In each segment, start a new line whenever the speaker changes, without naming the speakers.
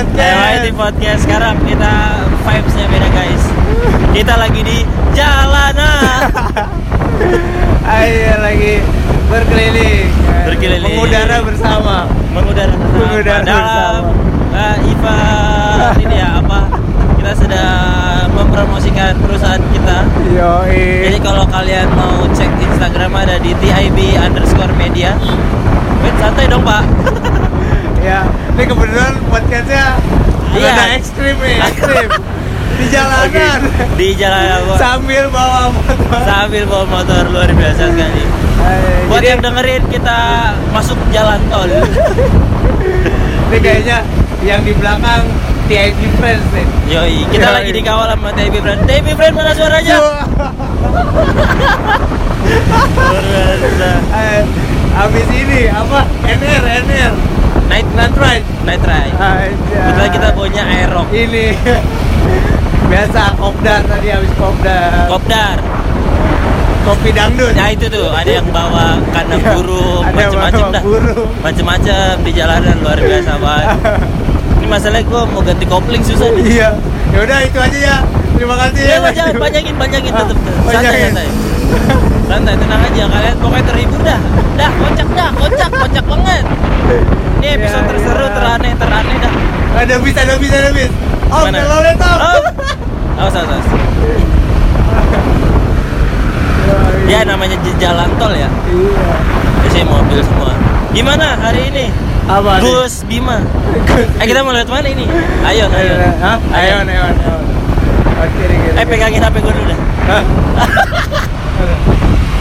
di podcast sekarang kita vibesnya beda guys. Kita lagi di jalanan.
Ayo Ah, iya, lagi berkeliling.
Berkeliling.
Mengudara bersama.
Mengudara bersama.
Mengudara
dalam eh, event ini ya apa? Kita sedang mempromosikan perusahaan kita. Jadi
Yoi.
kalau kalian mau cek Instagram ada di TIB underscore media. Wait, santai dong pak.
Ya, ini kebetulan podcastnya
Iya.
rada ekstrim nih, ekstrim. Di jalanan.
Di jalan apa?
Sambil bawa motor.
Sambil bawa motor luar biasa sekali.
Ayo,
Buat
jadi
yang dengerin kita masuk jalan tol.
ini kayaknya yang di belakang TIP fans nih.
Yoi, kita
Yoi.
lagi dikawal sama TB Brand. TB Brand mana suaranya?
Wah, eh, Abis ini apa? NR, NR.
Night
Night ride.
Night Ride.
Aja.
Kebetulan kita punya Aerox.
ini biasa kopdar tadi habis kopdar
Kopdar.
kopi dangdut
Nah itu tuh ada yang bawa kandang
Iya,
burung,
ada yang
macem-macem
bawa
dah.
burung. Ah.
Macem-macem di jalanan luar biasa banget. Ini masalahnya gue mau ganti kopling susah nih.
iya ya udah itu aja ya terima kasih
Ya,
Mas
jangan
Yu.
panjangin, panjangin
Ah,
tetep Santai,
panjangin.
santai. Santai, tenang aja. Kalian pokoknya terhibur dah. Dah, kocak dah, kocak, kocak banget. Ini episode
Ya,
terseru,
ya.
teraneh, teraneh dah.
ada bis ada bis ada bis om
Mana?
kalau udah tau
Oh. Awas, awas, awas. Ya namanya j- jalan tol ya.
iya
Biasanya mobil semua. Gimana hari ini?
apa nih?
Gus Bima. Eh kita mau lihat mana ini? Ayo,
ayo
ayo.
hah? ayo ayo ayo Oh, kiri, kiri,
Eh
kiri.
pegangin HP gue dulu dah.
Hah?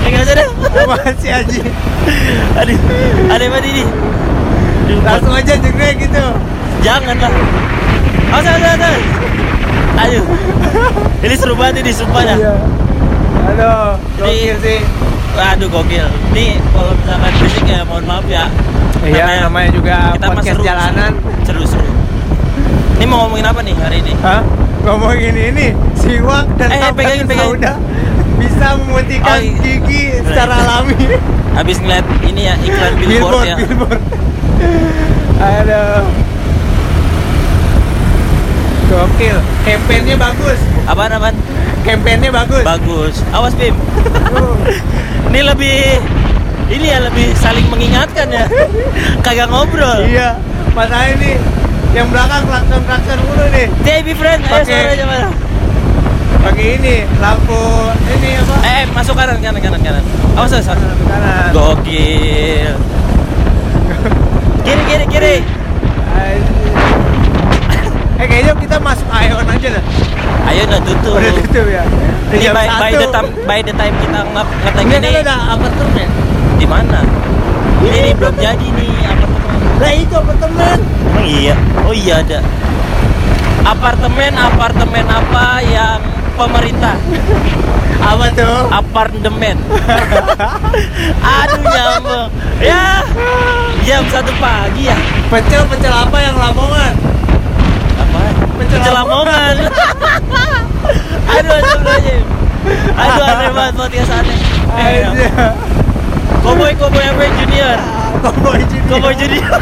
Pegang aja dah.
Apaan sih Haji?
Aduh, ada apa ini? Aduh,
Langsung aja jengrek gitu
Jangan lah. Awas, awas, awas, awas. Aduh. Ini seru banget ini sumpah dah.
Iya. Aduh,
Jadi-
gokil sih
Aduh gokil. Ini kalau misalkan fisik ya mohon maaf ya.
Iya, namanya juga
kita mah
podcast
seru-
jalanan.
Seru-seru. Ini mau ngomongin apa nih hari ini?
Hah? Ngomongin ini, siwak dan
Eh, eh,
tapak
pegangin, pegangin.
sauda bisa memutihkan
Oh, iya.
gigi secara alami.
Habis ngeliat ini ya iklan billboard, ya.
billboard. Aduh. Gokil, kampanyenya bagus,
Apaan apaan?
kampanyenya bagus.
Bagus. Awas Bim.
Uh,
Ini lebih ini ya lebih saling mengingatkan ya. Kagak ngobrol.
iya, masalah ini yang belakang klakson klakson mulu nih.
Day be friend, Eh, ayo
Pakai-
suaranya mana?
Pagi ini lampu ini apa?
Eh, eh, masuk kanan kanan kanan kanan. Awas awas. awas.
Lampu kanan.
Gokil. Kiri kiri kiri.
Anjir. Eh kayaknya kita masuk Ion aja dah.
Ayo udah tutup.
Udah tutup ya. Udah
Ini
jam
by, by
satu.
the time by the time kita ngap ngetek
Enggak, Iya,
ini
kan ada apartemen ya?
di mana?
Ini
Ini belum
betul.
jadi nih apartemen.
Lah itu kan? apartemen.
Emang iya. Oh iya ada. Apartemen apartemen apa yang pemerintah?
Apa tuh?
Apartemen. Aduh nyambung. Ya. Jam satu pagi ya.
Pecel-pecel apa yang Lamongan?
Apa?
Pecel
Lamongan. Aduh astagfirullahaladzim. Aduh aneh banget podcast aneh.
Ah,
Eh,
Aja.
Cowboy Cowboy apa Junior?
Koboi jadi.
Cowboy Junior.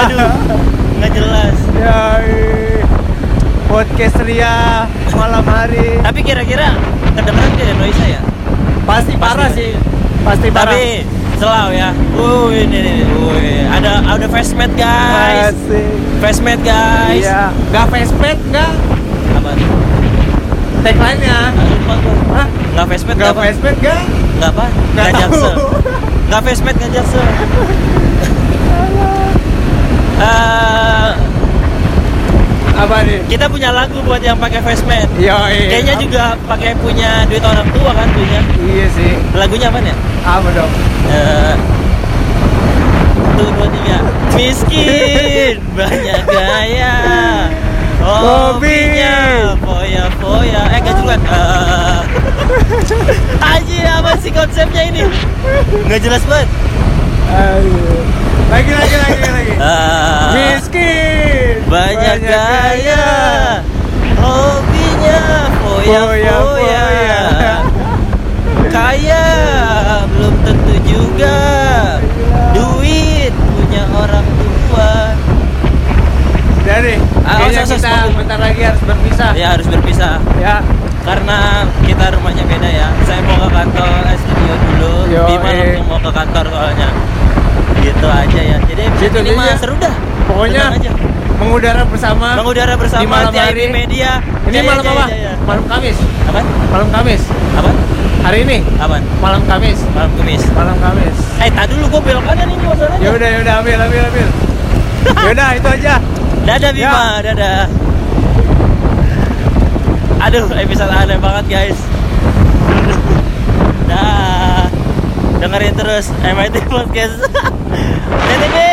Aduh. Nggak jelas.
Ya. eh. Podcast Ria malam hari.
Tapi kira-kira kedengeran gak ya noise ya?
Pasti parah
pasti.
sih. Pasti parah.
Tapi selau ya. Uh ini nih, wuih. ada ada face mask guys.
Asik.
Face mask guys.
Iya. Enggak face pack enggak?
Apa?
Tagline-nya.
Ah, Lupa gua.
Hah?
Nggak face mask
Enggak
nggak apa?
face pack enggak?
Nggak apa?
Nggak
Nggak
tahu.
jaksel. Nggak face mask nggak jaksel. Eh,
Apa nih?
kita punya lagu buat yang pakai face mask.
Yoi.
Kayaknya juga pakai punya duit orang tua kan punya.
Iya sih.
Lagunya apa ya?
Apa dong?
Eh, Satu dua tiga. Miskin banyak gaya. Hobinya foya foya. Eh nggak jelas. Eh, Anjir apa sih konsepnya ini? Nggak jelas banget.
Aduh. Lagi lagi lagi lagi.
Eh,
Miskin.
banyak gaya. Hobinya foya
Foya,
foya.
foya.
Kaya belum tentu juga. Duit punya orang tua.
Dan
Ah, oh,
kita bentar lagi harus berpisah.
ya harus berpisah
Ya.
karena kita rumahnya beda ya saya mau ke kantor eh, studio dulu
Yo,
Bima
eh.
langsung mau ke kantor soalnya gitu aja ya jadi episode
Gitu
ini mah
aja.
seru dah
Pokoknya
Tenang aja.
mengudara bersama.
mengudara bersama
malam
TIB
hari.
Media
Ini
Jaya,
malam
jaya,
apa?
jaya.
Malam Kamis.
apa
Malam Kamis.
apa
Hari ini
apa
malam Kamis.
malam kemis
Malam Kamis.
eh tak dulu gua belok kanan ini masalahnya
Ya udah ya udah ambil ambil ambil. Ya udah itu aja.
Dadah Bima, dadah. Aduh, episode aneh banget guys. Dah. Dengerin terus MIT Podcast. TTP.